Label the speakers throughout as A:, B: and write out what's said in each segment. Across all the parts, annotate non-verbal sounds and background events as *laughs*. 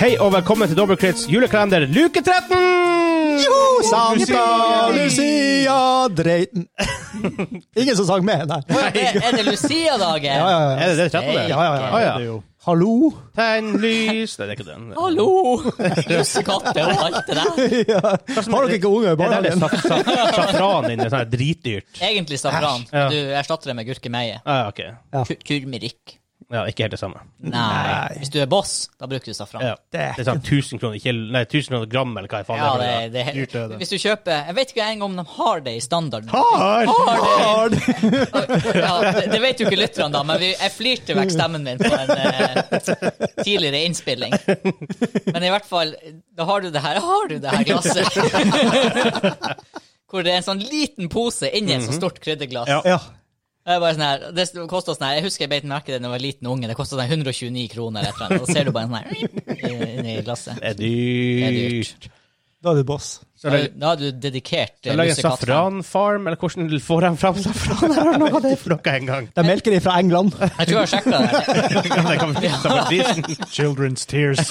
A: Hei og velkommen til Dobbelkrits julekalender luke 13!
B: Joho! Santa Lucia *laughs* Dreiten Ingen som sang med, nei.
C: Er det- er det Lucia-dagen?
B: Ja, ja, ja.
A: Er det det 13?
B: ja, ja, ja.
A: Ah, ja.
B: Det er jo- Hallo?
A: Tegn lys Nei, det er ikke den.
C: Hallo! Lussekatter og alt det der.
B: Har dere ikke unge i
A: Det er der det er
B: barnehagen?
A: saf- saf- safran inni, sånn her dritdyrt.
C: Egentlig safran.
A: Ja.
C: Du erstatter det med gurkemeie.
A: *laughs* Ja, ok.
C: Ku- Kurmirikk.
A: Ja, ikke helt det samme.
C: Nei. Hvis du er boss, da bruker du safran.
A: Ja. Det er sånn 1000 kroner, ikke, nei, 1000 kroner gram, eller hva i faen
C: Ja,
A: det
C: det,
A: er. for
C: det,
B: Dyrt er det.
C: Hvis du kjøper Jeg vet ikke engang om de har det i standard.
B: Hard!
C: Har
B: Hard!
C: Ja, det, det vet jo ikke lytterne, da, men vi, jeg flirte vekk stemmen min på en eh, tidligere innspilling. Men i hvert fall, da har du det her. Har du det her glasset? Hvor det er en sånn liten pose inni et så stort krydderglass.
A: Mhm. Ja.
B: Ja.
C: Det er bare sånn her, det kostet sånn her, Jeg husker jeg beit merke i det da jeg var liten unge. Det kosta sånn 129 kroner. eller et eller annet. Da ser du bare sånn her eh, inni glasset.
A: Det er dyrt.
B: Da er du boss.
A: Så
C: Da,
A: lag-
C: da har du dedikert eh,
A: så lag en safranfarm, eller hvordan får de fram safran? *laughs* Jeg har noe av det for noe en gang.
B: De melker de fra England.
C: Jeg tror jeg har sjekka
A: *laughs*
C: det.
A: Det kan
C: *laughs*
A: vi ta med prisen.
D: Children's tears.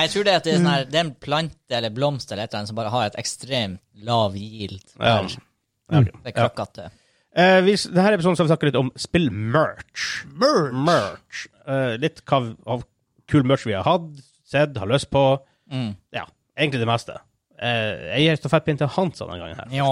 C: Jeg tror det, at det, er sånn her, det er en plante eller blomst eller et eller annet som bare har et ekstremt lav yield.
A: Ja. Ja, ok.
C: Det er kløkkete.
A: Eh, vi, denne episoden skal vi snakke litt om spill-merch. Merch! Eh, litt hva v- av kul merch vi har hatt, sett, har lyst på.
C: Mm.
A: Ja, egentlig det meste. Eh, jeg gir stafettpinn til Hansa denne gangen her.
C: Ja.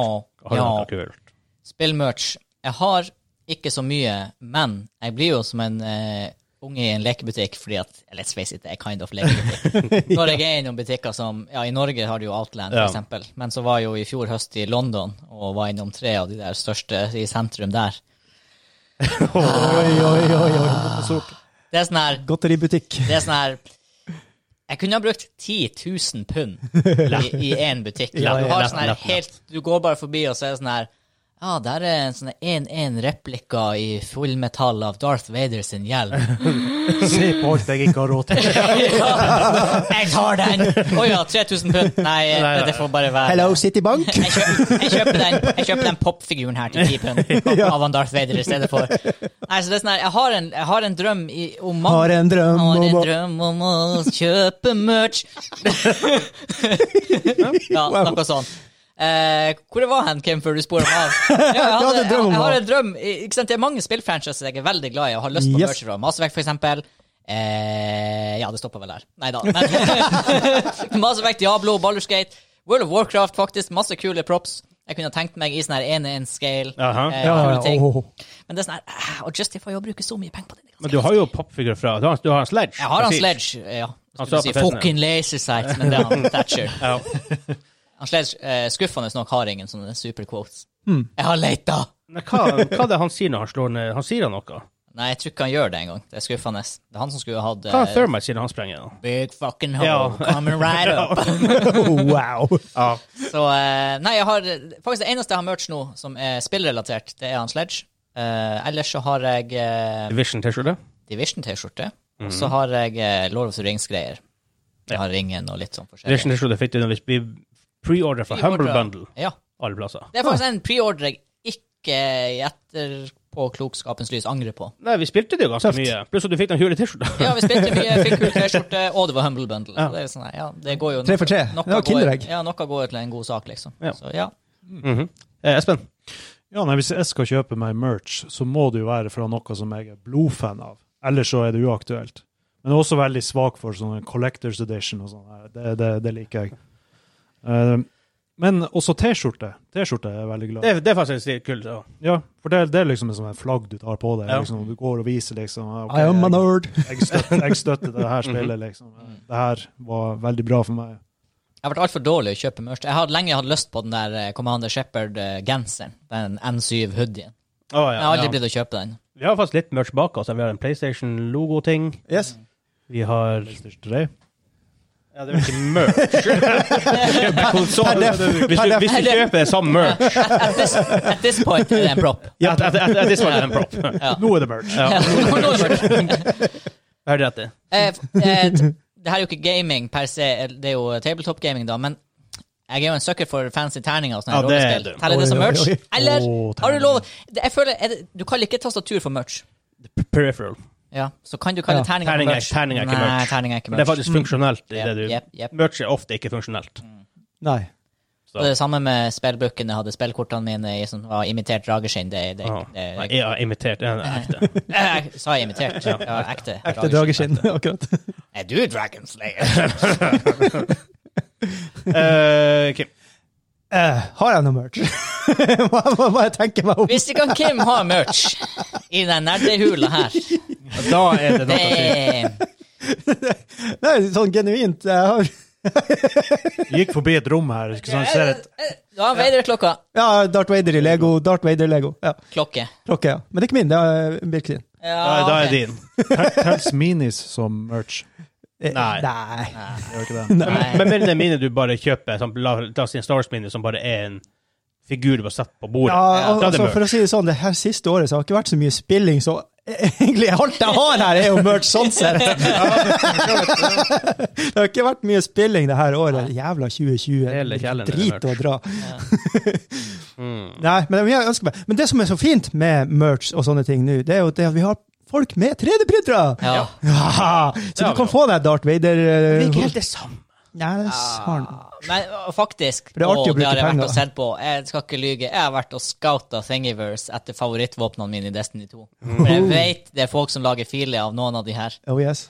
A: Har du
C: ja.
A: noe kult?
C: Spillmerch. Jeg har ikke så mye, men jeg blir jo som en eh, unge i en lekebutikk fordi at Let's face it, det er kind of
A: *laughs*
C: lekebutikk. Når jeg er i noen butikker som Ja, i Norge har du jo Outland, for
A: Ja.
C: eksempel. Men så var jeg jo i fjor høst i London og var innom tre av de der største i sentrum der.
B: Oi, oi, oi. oi. Sort.
C: Det er sånn her
B: Godteributikk.
C: Det er sånn her Jeg kunne ha brukt 10 000 pund
B: *laughs*
C: i én butikk.
B: Ja,
C: du,
B: ja,
C: har
A: lett,
C: sånn her
A: lett,
C: helt, du går bare forbi, og så er det sånn her Ja, der er en sånn 1-1-replika i fullmetall av Darth Vader sin hjelm.
D: *laughs*
B: *laughs*
D: Se på alt jeg ikke har råd til.
C: ja, jeg tar den! Å ja, 3000 pund. Nei,
A: nei.
C: det får bare være
B: Hello, Citibank.
C: Jeg kjøper, jeg kjøper den, jeg kjøper den popfiguren her til 10
B: *laughs*
C: pund av han Darth Vader i stedet for. Nei, så det er sånn her, jeg har en, jeg har en drøm i, om mange
B: Har en drøm
C: har en
B: om å
C: drøm om å kjøpe
B: *laughs*
C: merch. ja, noe sånt. Eh, hvor jeg var hen, Kim, før du sporer
B: *laughs*
C: meg av? Ja, jeg,
B: Du hadde en
C: hadde,
B: drøm
C: jeg,
B: om
C: jeg har
B: hva?
C: en drøm. i- Ikke sant? Det er mange spillfranchises jeg er veldig glad i og har lyst på
B: Yes.
C: merch fra. Mass Effect, for eksempel. Eh, ja, det stopper vel der. Nei
B: *laughs*
C: da. *laughs* Mass Effect, Diablo, Ballerskate, World of Warcraft, faktisk. Masse kule props. Jeg kunne tenkt meg i sånn her 1-1-scale.
A: Aha.
C: Eh,
B: Ja, oh,
C: kule ting.
B: åh, åh.
C: Men det er sånn her eh, Å justify å bruke så mye penger på det. det er ganske
A: Men du har jo popfigur fra Du har, du har en sledge.
C: jeg har han
A: Precis.
C: Sledge, eh, ja.
A: Han
C: Skulle
A: sa
C: si
A: på festen, ja.
C: fucking laser sight, men det
A: *laughs*
C: er han Thatcher.
A: Ja.
C: Han Sledge, eh, skuffende nok, har ingen sånne super quotes.
A: Hmm.
C: Jeg har leita!
A: Men hva, hva er det han sier når han slår ned Han sier han noe?
C: Nei, jeg tror ikke han gjør det engang. Det er skuffende. Det er han som skulle hatt
A: Hva er
C: eh,
A: Thermite sier når han sprenger? da?
C: Big fucking hoe
A: Ja.
C: coming right
A: *laughs*
C: up.
B: Oh, wow.
A: Ja.
C: Så eh, Nei, jeg har faktisk det eneste jeg har merch nå som er spillrelatert, det er han Sledge. Eh, ellers så har jeg eh,
A: Division-T-skjorte?
C: Division-T-skjorte. Og
A: Mm.
C: så har jeg eh, Lord of the Rings-greier. Jeg har ringen og litt sånn forskjellig.
A: Division-T-skjorte fikk du når vi blir pre-order fra Humble Bundle
C: Ja.
A: alle plasser.
C: Det er faktisk en preordre jeg ikke i etterpåklokskapens lys angrer på.
A: Nei, vi spilte det jo ganske mye. Pluss at du fikk den hule T-skjorta.
C: *laughs* Ja, vi spilte mye, fikk kul T-skjorte, og det var Humble Bundle. Så det er sånn, ja, det går jo
B: Tre for tre.
C: noe
B: Det var
C: går,
B: kinderegg.
C: ja, noe går til en god sak, liksom.
A: Ja.
C: Så ja.
A: Mhm. eh, Espen?
D: Ja, nei, Hvis jeg skal kjøpe meg merch, så må det jo være fra noe som jeg er blodfan av. Ellers så er det uaktuelt. Men jeg er også veldig svak for sånne collectors edition og sånn. her. Det, det, det liker jeg. Eh, Men også T-skjorte. T-skjorte er jeg veldig glad i.
A: Det, er- det er faktisk litt kult. Ja.
D: Ja, for det, det er liksom en sånn flagg du tar på deg.
A: Ja.
D: Liksom, du går og viser liksom ah, ok,
B: I am a
D: jeg,
B: nerd.
D: jeg, støtter, jeg støtter det *laughs* her spillet, liksom. Det her var veldig bra for meg.
C: Jeg har vært altfor dårlig å kjøpe merch. Jeg har lenge hatt lyst på den der eh, Commander Shepherd-genseren. Den N7-hoodien.
A: Å,
C: Jeg har aldri
A: ja.
C: blitt å kjøpe den.
A: Vi har faktisk litt merch bak oss. Vi har en PlayStation-logo-ting.
B: Yes.
A: Vi har
D: PlayStation 3.
A: Ja, det er ikke *laughs* merch. Kjøper konsol. Hvis du, hvis du kjøper samme merch
C: At this, at this point er det en prop.
A: ja, at- at- at- at this one er en prop.
D: Nå er det merch.
A: *laughs* Ja,
C: Ja.
A: jeg har rett i. *laughs*
C: Eh, eh, t- det her er jo ikke gaming per se, eh, det er jo tabletop-gaming, da, men jeg er jo en sucker for fancy terninger og sånne
A: Ja, det er
C: rollespill.
A: du.
C: Teller det som
B: Oi, oi,
C: merch?
B: oi.
C: Eller
D: Åh,
C: har du
D: terninger.
C: lov det- Jeg føler er det, Du kaller ikke tastatur for merch.
A: Peripheral.
C: Ja, så kan du kalle
B: Ja.
C: det terning
A: Terning er- terning er ikke
C: Nei,
A: merch.
C: terning er ikke
A: Men det er
C: merch.
A: faktisk funksjonelt. i
C: Jep,
A: det du...
C: jep, jep.
A: Merch er ofte ikke funksjonelt.
C: Mm,
B: Nei.
A: Så.
C: Og det er det samme med spillbrukken. Jeg hadde spillkortene mine i som var imitert drageskinn. Det, det,
A: Ah,
C: det,
A: nei, jeg har imitert en
C: *laughs*
A: ekte.
C: Eh, sa jeg imitert? Ja, ekte.
B: Ekte drageskinn, akkurat.
C: Er du Dragon Slayer?
A: Eh, Kim.
B: Eh, har jeg noe *laughs* merch? må, må, må jeg tenke meg om?
C: Hvis ikke han Kim har merch i den nerdehula her
A: Da er det
C: Det
A: noe å si.
C: er
B: Nei, sånn genuint. Jeg har,
D: Gikk forbi et rom her. Ikke
A: sånn
D: sant? Ser et,
C: Du eh, har Vader-klokka.
B: ja, Darth Vader i Lego. Darth Vader i Lego. Ja,
C: Klokke.
B: klokke, ja. Men det er ikke min, det er eh, Birk sin.
C: Ja,
A: Da, da
C: ok.
A: er din.
D: Tells minis som merch.
B: Eh,
A: Nei.
B: Nei.
D: Gjør ikke det?
C: Nei.
A: Men mindre mine du bare kjøper sånn, la, la oss si en Star Wars-mine som bare er en figur du har satt på bordet.
B: Ja, al-
A: Da er det
B: altså,
A: merch.
B: for å si det sånn, det her siste året så har det ikke vært så mye spilling, så egentlig alt jeg har her, er jo merch sånn sett.
A: *laughs*
B: det har ikke vært mye spilling det her året. Jævla 2020.
A: Hele kjelleren er
B: Drit å
A: merch.
B: dra. *laughs*
A: Mm.
B: Nei, men, jeg ønsker meg. men det som er så fint med merch og sånne ting nå, det er jo det at vi har folk med
A: *laughs*
B: 3D-printere!
C: Ja.
A: Det har
B: Ja, så du
A: vi
B: kan
A: jo.
B: få deg Darth Vader.
A: Det
B: eh,
A: er ikke helt det Ah. samme.
B: Nei, det er sant.
C: Ah, Men uh, faktisk,
B: For det er artig å
C: og det
B: bruke
C: har jeg vært
B: penger.
C: og sett på, jeg skal ikke lyge, jeg har vært og scouta Thingiverse etter favorittvåpnene mine i Destiny 2.
A: Mm.
C: For jeg vet det er folk som lager filer av noen av de her.
B: Oh yes.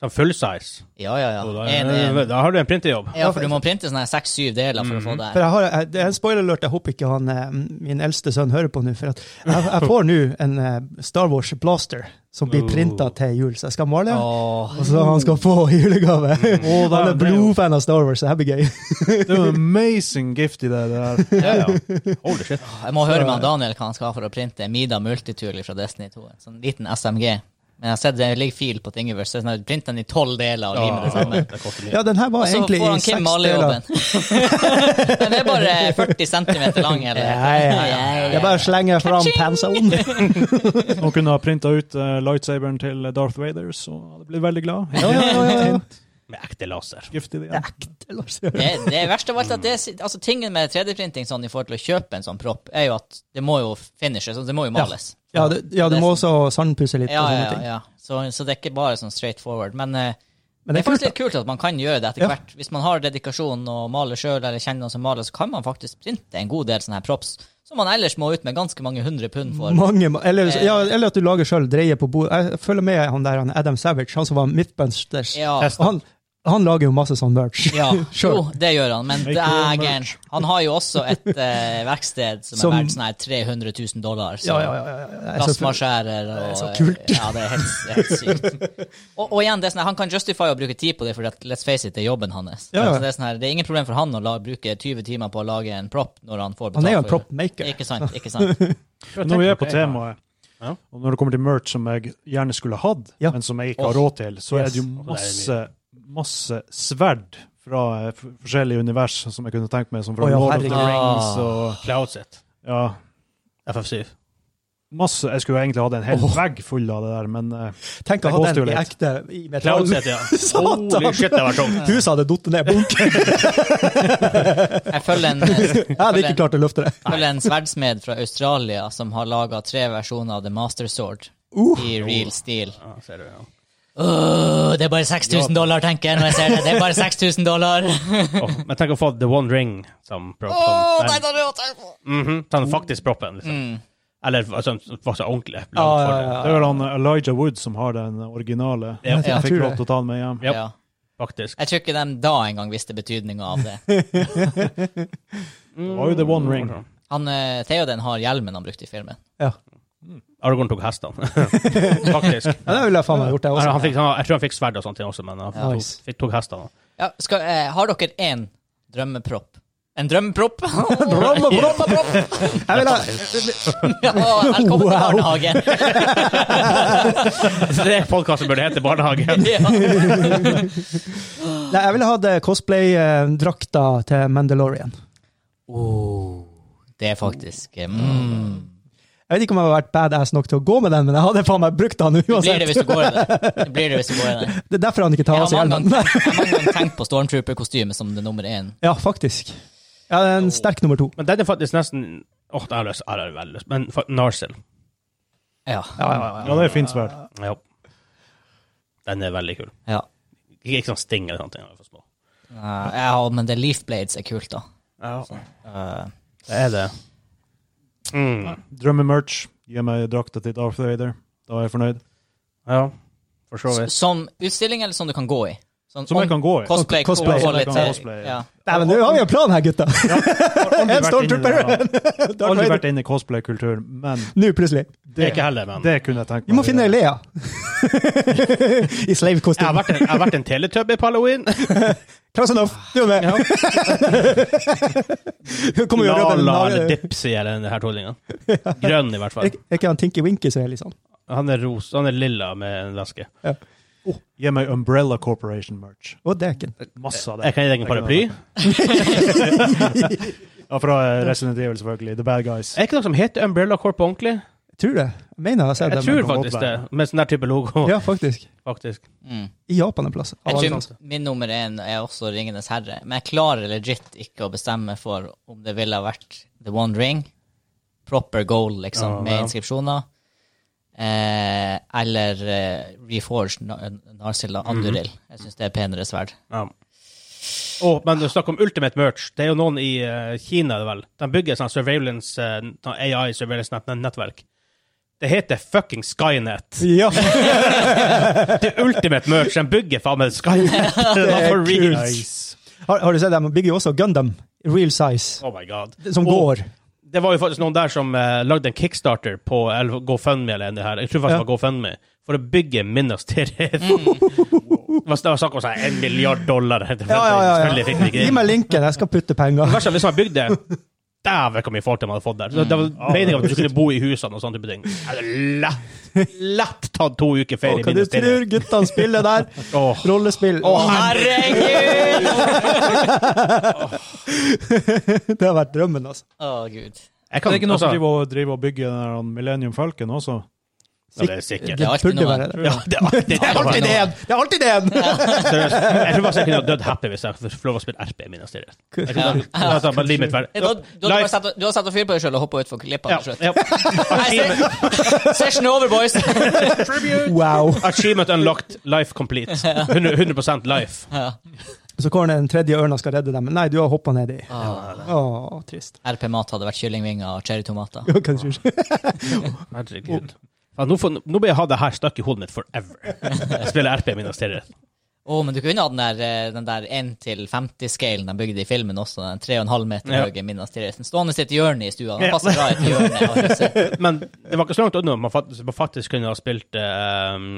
A: Sånn full size.
C: Ja, ja,
A: Og
C: ja.
A: Da,
C: En, en.
A: da har du en printerjobb.
C: Ja, for du må printe sånne her seks-syv deler for å
A: Mm.
C: få det
B: For
C: her.
B: jeg har, jeg, det er en spoiler alert, jeg håper ikke han, eh, min eldste sønn hører på nå. For at jeg, jeg får nå en eh, Star Wars blaster som blir printa til jul, så jeg skal male.
C: Åh.
B: Og så han skal få *laughs* i julegave. Han
D: Å,
B: er
D: det er- det er jo-
B: blodfan av Star Wars, så det her blir gøy.
D: det er jo en amazing gift i det der.
A: Ja, ja. Holy shit.
C: Jeg må høre med han Daniel hva han skal ha for å printe Mida Multitool fra Destiny 2. En sånn liten SMG. Men jeg har sett det ligger fil på Thingiverse. så det er Sånn, Print den i tolv deler og lim det
B: *laughs*
C: sammen.
A: det koster mye.
B: Ja, den her var
C: Og så
B: egentlig
C: får
B: i
C: han
B: seks
C: Kim
B: deler.
C: malejobben. *laughs* Den er bare 40 cm lang,
B: Ja,
C: eller?
B: ja, ja. Jeg bare slenger fram penselen.
D: Noen kunne ha printa ut eh, lightsaberen til Darth Vader, så hadde jeg blitt veldig glad.
B: Ja, ja, ja, ja, ja.
A: Med ekte laser.
D: Gift i det. Ja.
C: Det, det verste av alt er at det, altså, tingen med 3D-printing sånn, i forhold til å kjøpe en sånn propp, er jo at det må jo finishes, og det må jo
B: Ja.
C: males.
B: Ja, du, ja, du må også sandpusse litt.
C: Ja,
B: og
C: ja,
B: sånne ting.
C: ja. Så, så det er ikke bare sånn straight forward. Men, eh,
B: Men det
C: det er
B: er kult,
C: faktisk litt kult at man kan gjøre det etter
B: Ja.
C: hvert. Hvis man har dedikasjon og maler sjøl, eller kjenner noen som maler, så kan man faktisk printe en god del sånne her props som man ellers må ut med ganske mange hundre pund for.
B: Mange, ma- eller, ja, eller at du lager sjøl, dreier på bordet. Jeg følger med han der, han Adam Savage, han som var Midtbusters.
C: Ja.
B: Og Han, han lager jo masse sånn merch.
C: Ja,
B: *laughs* Sure.
C: jo, det gjør han, men
D: Make your own
C: dægen. Han har jo også et eh, verksted som,
B: Som-
C: er verdt sånn her 300 000 dollar. Så.
B: Ja, ja, ja, ja, ja. Jeg er så full.
C: Plasmaskjærer og
B: så kult.
C: eh, Ja, det er helt, helt sykt.
B: *laughs*
C: Og, og igjen, det er sånn, her, han kan justify å bruke tid på det, for at, let's face it, det er jobben hans.
B: Ja, ja.
C: Så det, er sånn her, det er ingen problem for han å la, bruke 20 timer på å lage en propp når han får betalt.
B: Han er jo en
C: for det.
B: propmaker.
C: Ikke sant. ikke sant.
D: Men Når vi er på temaet,
A: Ja.
D: og når det kommer til merch som jeg gjerne skulle hatt,
B: Ja.
D: men som jeg ikke har råd til, så er det jo
A: Yes.
D: masse, masse sverd fra eh, f- forskjellige univers som jeg kunne tenkt meg, som fra
B: Å ja,
D: Lord of the
B: herregud.
D: Rings og
A: Cloudset.
D: ja,
A: FF7.
D: masse. Jeg skulle jo egentlig hatt en hel vegg full av det der, men eh,
B: Tenk å
D: Det
B: ha
D: koster jo
B: den i
D: litt.
B: ekte i metall.
A: Cloudset, ja.
B: *laughs* Satan.
A: Holy shit,
B: *laughs*
A: det var tungt.
B: Huset hadde falt ned. Bunk.
C: Jeg
B: *laughs*
C: følger en, jeg
B: Jeg hadde ikke
C: følger en,
B: klart å løfte det.
C: følger en sverdsmed fra Australia som har laga tre versjoner av The Master Sword
B: Uh.
C: i real steel.
A: Ja, ser du, ja.
C: Åh, det er bare 6000 dollar, tenker jeg når jeg ser det. Det er bare 6000
B: *laughs*
C: dollar.
A: Åh, men tenk å få The One Ring som prop.
C: Åh,
A: Sånn,
C: nei, Mm.
A: den,
C: det er rått, jeg får-
A: Mhm, sånn faktisk proppen, liksom. Eller altså, faktisk ordentlig.
B: Ja,
A: langt
B: ja,
A: for det.
B: ja,
D: det er vel han eh, Elijah Wood som har den originale.
A: Ja.
D: Jeg
C: Ja.
D: fikk lov til å ta den med hjem.
A: Ja.
C: Ja.
A: Faktisk.
C: Jeg tror ikke de da engang visste betydninga av det.
D: Det var jo The One Ring.
C: Han, eh, Theoden har hjelmen han brukte i filmen.
B: Ja.
A: Aragorn tok hestene, *laughs* faktisk.
B: Ja, det ville jeg faen meg gjort, jeg
A: Han, han
B: også.
A: fikk, han, jeg tror han fikk sverd og sånt til også, men han
B: Sånn, Ja.
A: tok, fikk, tok hestene.
C: Ja, skal, eh, har dere én drømmepropp? En drømmepropp?
B: Brom og brom.
C: *laughs* Drømmepropp!
B: Jeg vil ha-
C: Ja, velkommen til
B: Wow.
C: *laughs* barnehagen!
A: *laughs* Det podkasten burde hete
C: *laughs*
A: Barnehagen.
C: Ja.
B: Nei, jeg ville hatt eh, cosplay-drakta til Mandalorian.
C: Oh, det er faktisk eh, mm.
B: Jeg vet ikke om jeg har vært badass nok til å gå med den, men jeg hadde faen meg brukt den
C: Blir det
B: uansett.
C: hvis du går i det? det, blir det, hvis du går i det.
B: Det er derfor han ikke
C: Jeg
B: tar av
C: har
B: seg
C: mange
B: hjelmen.
C: ganger jeg har mange ganger tenkt på stormtrooper-kostyme som det nummer én.
B: Ja, faktisk. Ja, det er en sterk nummer to.
A: Men den er faktisk nesten Åh, den har jeg lyst Jeg har veldig lyst, men for, Narsil.
C: Ja.
D: Ja, det er fint sverd.
A: Ja. Den er veldig kul.
C: Ja.
A: Ikke, ikke sånn Sting eller sånne ting. de er for små.
C: Eh, ja, men The Leaf Blades er kult, da. Eh,
A: Det er det. Mm.
D: Drømmemerch. Gi meg drakta til Darth Vader. Da er jeg fornøyd.
A: Ja, for så
C: s-
A: vidt.
C: som utstilling, eller som du kan gå i? Sånn
D: Som jeg
C: om-
D: kan gå i.
C: Cosplay.
B: Cosplay.
C: og- og litt,
D: Som jeg kan
C: eh,
D: cosplaye.
C: ja.
B: Nei, men nå har vi en plan her, gutta! *laughs*
D: Aldri
B: En
D: vært inne i
B: stormtrooper.
D: det, da.
B: *laughs* Darth
D: Aldri
B: Vader.
D: vært inne i cosplay-kulturen, men
B: Nå, plutselig.
A: Det er ikke heller, men
D: det kunne jeg tenkt
B: Vi
D: meg.
B: må finne Lea. *laughs* I
A: jeg har
B: slave-kostyme.
A: vært en, jeg har vært en teletubby på halloween.
B: Close enough, du er med! *laughs* Kommer jo
A: Lala
B: rødden-
A: eller Dipsy eller den her tullinga. Grønn, i hvert
B: Er
A: fall.
B: er ikke han Tinky Winky som er liksom
A: Han er, ros, han er lilla med en veske.
D: Gi meg Umbrella Corporation-merch.
B: Å, deken.
D: Masse av det.
A: Jeg kan gi deg en paraply.
D: Ja, fra eh, Resident Evil, selvfølgelig. The Bad Guys.
A: Er det ikke noe som heter Umbrella Corp på ordentlig?
B: Tror det. Jeg mener jeg har sett
A: Jeg
B: dem.
A: tror
D: kan
A: faktisk
D: godt
A: det,
D: være.
A: med sånn der type logo.
B: Ja, faktisk.
A: faktisk.
C: Mm.
B: I Japan en plass.
C: Jeg
B: Ah,
C: tror min nummer én er også Ringenes herre, men jeg klarer legit ikke å bestemme for om det ville ha vært The One Ring, proper goal,
A: Ja,
C: liksom,
A: ja.
C: med inskripsjoner, eh, eller eh, Reforged Na-
A: Mhm.
C: Narsilla Anduril. Jeg syns det er penere sverd.
A: Ja. Å, men du snakker om ultimate merch. Det er jo noen i eh, Kina, det vel. De bygger sånn surveillance, eh, sånn AI surveillance net nettverk. Det heter fucking Skynet.
B: Ja,
A: Det er ultimate merch. De bygger faen meg
B: *laughs*
A: Skynet.
B: det er
A: *laughs* For real.
B: kult. Har, har du sett dem? De Bygger jo også Gundam, real size,
A: Oh my god.
B: som
A: Og
B: går.
A: Det var jo faktisk noen der som eh, lagde en kickstarter på eller GoFundMe eller det her. Jeg tror faktisk
B: Ja. Mm.
A: det var GoFundMe. For å bygge Minas Tirith. Det var *laughs* det var snakk om sånn en milliard dollar. *laughs*
B: Ja, ja, ja.
A: Selvfølgelig fikk vi
B: ja.
A: ikke
B: Gi
A: det.
B: meg linken, jeg skal putte penger.
A: Verst er hvis man bygde Dæven, hvor mye folk de hadde fått der. Så det var
D: Mm.
A: meningen at du skulle bo i husene og sånne type ting. Jeg hadde Lett, lett tatt to uker
B: Å,
A: ferie i
B: Hva du
A: Minas
B: tror
A: Tirith.
B: guttene spiller der? *laughs*
A: Åh.
B: Rollespill.
C: Å, herregud!
B: *laughs* Det har vært drømmen, altså.
C: Å,
A: Jeg
C: gud.
D: Det
A: kan
D: er ikke noen som
A: altså,
D: driver og, driver og bygger den der Millennium Falcon også?
A: ja, det er sikkert.
C: Det er alltid
B: burde
C: noe.
B: være det.
A: Ja, det er alltid
B: Det er alltid det! Det er alltid
D: *laughs*
B: det!
A: Seriøst. Jeg tror faktisk jeg kunne ha dødd happy hvis jeg fikk lov å spille RP i Minas Tirith. Jeg
C: Ja.
A: kunne- jeg hadde tatt bare livet mitt verre.
C: Du, du, du,
A: Life-
C: har satt, du har satt fyr på deg sjøl og hoppa utfor klippa
A: Ja,
C: til slutt.
A: ja. Achievement,
C: Session over,
A: *laughs*
C: boys!
B: Wow.
A: achievement unlocked, life
C: *laughs*
A: complete. 100, 100 life.
C: Ja.
B: Så kommer den tredje ørna og skal redde dem, men nei, du har hoppa nedi.
C: Ah,
B: Å, trist. *laughs*
C: RP-mat hadde vært kyllingvinger og cherrytomater.
B: Ja, Kanskje ikke.
A: Herregud. Ja, nå, får, nå blir jeg ha det her stuck i hodet mitt
C: *laughs*
A: forever. Jeg spiller RP i Minas Tirith.
C: Å, men du kunne ha den der, eh, den der 1-50-scalen de bygde i filmen også, den 3,5 meter
A: Ja.
C: høye Minas Tirith. Stående i et hjørne i stua. Den
A: Ja.
C: passer bra i et hjørne av huset.
A: *laughs* Men det var ikke så langt unna man faktisk, man faktisk kunne ha spilt eh,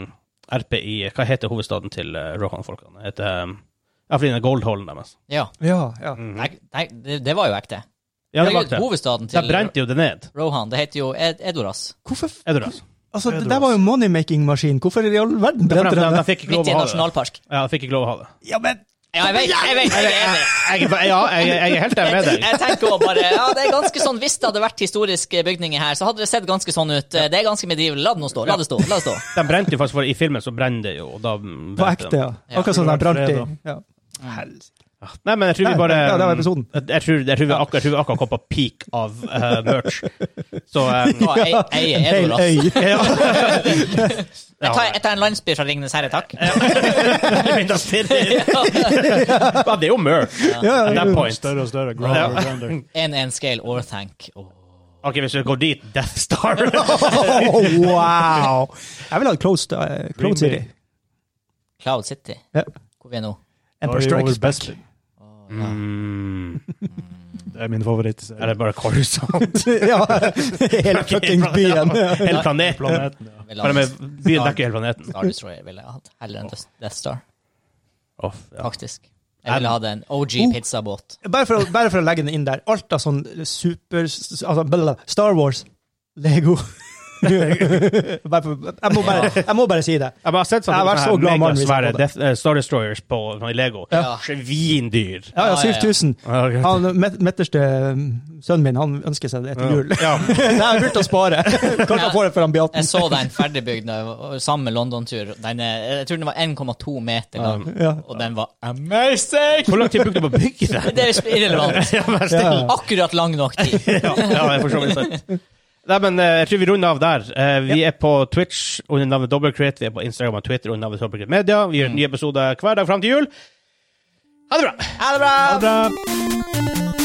A: RP i Hva heter hovedstaden til uh, Rohan-folkene? Det heter, um, ja, fordi den er Goldhallen deres.
C: Ja.
B: Ja, ja.
C: Nei, nei det, det var jo ekte.
A: Mhm. Ja, det
C: Det
A: var
C: er
A: ikke
C: jo
A: det.
C: hovedstaden
A: De
C: til
A: brente jo det ned.
C: Rohan. Det heter jo Ed Edoras.
B: Hvorfor f-
A: Er du rask?
B: Altså, det der var jo moneymaking-maskin. Hvorfor i all verden
A: De,
B: brente
A: de,
B: den?
A: de fikk ikke
C: Midt
A: lov å
C: i en
A: ha det.
C: nasjonalpark.
A: Ja, de fikk ikke lov å ha det.
B: Ja, men
C: Ja, jeg vet, jeg vet, jeg er enig.
A: Jeg, ja, jeg, jeg er helt enig med deg.
C: *laughs* Jeg tenker også bare, ja, det er ganske sånn, Hvis det hadde vært historiske bygninger her, så hadde det sett ganske sånn ut. Det er ganske medieval. La det nå stå. La det stå. la det stå.
A: De brente jo faktisk, for i filmen så brenner det jo, og da mm,
B: på
A: brente de.
B: ekte, ja. Akkurat som den brant i ja. Mm.
A: Nei, men jeg tror
B: Nei,
A: vi bare
B: ja, det var episoden.
A: Jeg, jeg, tror, jeg, tror vi akkurat, jeg tror vi akkurat kom på peak av eh, merch. Så eh,
C: Å, jeg, jeg
B: *laughs* En
C: er
B: hel
C: Edoras.
B: øy.
C: *laughs*
A: ja.
C: Jeg tar, jeg tar en landsby fra Ringnes herre, takk.
A: *laughs* Minas Tirith. Ja, det er jo merch.
B: Ja,
A: At
B: ja,
A: that
B: jo.
A: point.
D: Større og større. Grander, og grander.
C: 1-1 scale Orthanc. Oh.
A: Ok, hvis vi går dit, Death Star
B: *laughs* Oh, wow! Jeg vil ha Closed, uh,
D: Green
B: closed City.
D: Bay.
C: Cloud City.
B: Ja.
C: Hvor vi er nå?
D: Da er
B: Empire
D: vi over
B: Strikes Back. *laughs*
D: Best-
A: mm,
D: Det er min favoritt.
A: Er det bare
B: *laughs*
A: Coruscant?
B: ja, hele fucking byen.
A: Hele planeten?
D: Planeten, ja.
C: Vil
A: Bare
C: ha
A: med byen dekker hele planeten.
C: Star Destroyer ville jeg hatt. Heller enn Death Star,
A: Åh, ja.
C: faktisk. Jeg ville hatt en OG
B: Oh.
C: pizzabåt.
B: Bare for, å- bare for å legge den inn der. Alt av sånn super altså, bla, Star Wars, Lego *laughs* bare for, jeg, må bare, jeg må bare si det.
A: Jeg bare har sett
B: Jeg har
A: sånne,
B: vært så glad mann hvis jeg
A: megasvære
B: får det.
A: Death, eh, Star Destroyers på i Lego.
C: Ja.
A: Svindyr.
B: Ja, ja,
C: Ja, ja, ja.
B: 7000.
A: Ja,
B: Han met- midterste um, sønnen min han ønsker seg det til jul.
A: ja.
B: *laughs* Nei, jeg burde å spare. Kanskje han får det for han blir 18.
C: Jeg så den ferdigbygd da jeg var- samme London-tur. Den er- Jeg tror den var 1,2 meter lang,
B: Ja.
C: og den var amazing!
A: Hvor lang tid brukte du på å bygge det?
C: Det er irrelevant.
A: Ja, men
B: Ja.
A: still. *laughs*
C: Akkurat lang nok tid.
A: Ja, ja, jeg forstår det. Nei, men eh, jeg tror vi runder av der. Eh, vi er på Twitch under navnet Dobbelcrate. Vi er på Instagram og Twitter under navnet Dobbelcrate Media. Vi gjør en ny episode hver dag fram til jul. Ha det bra!
C: Ha det bra!
D: Ha det!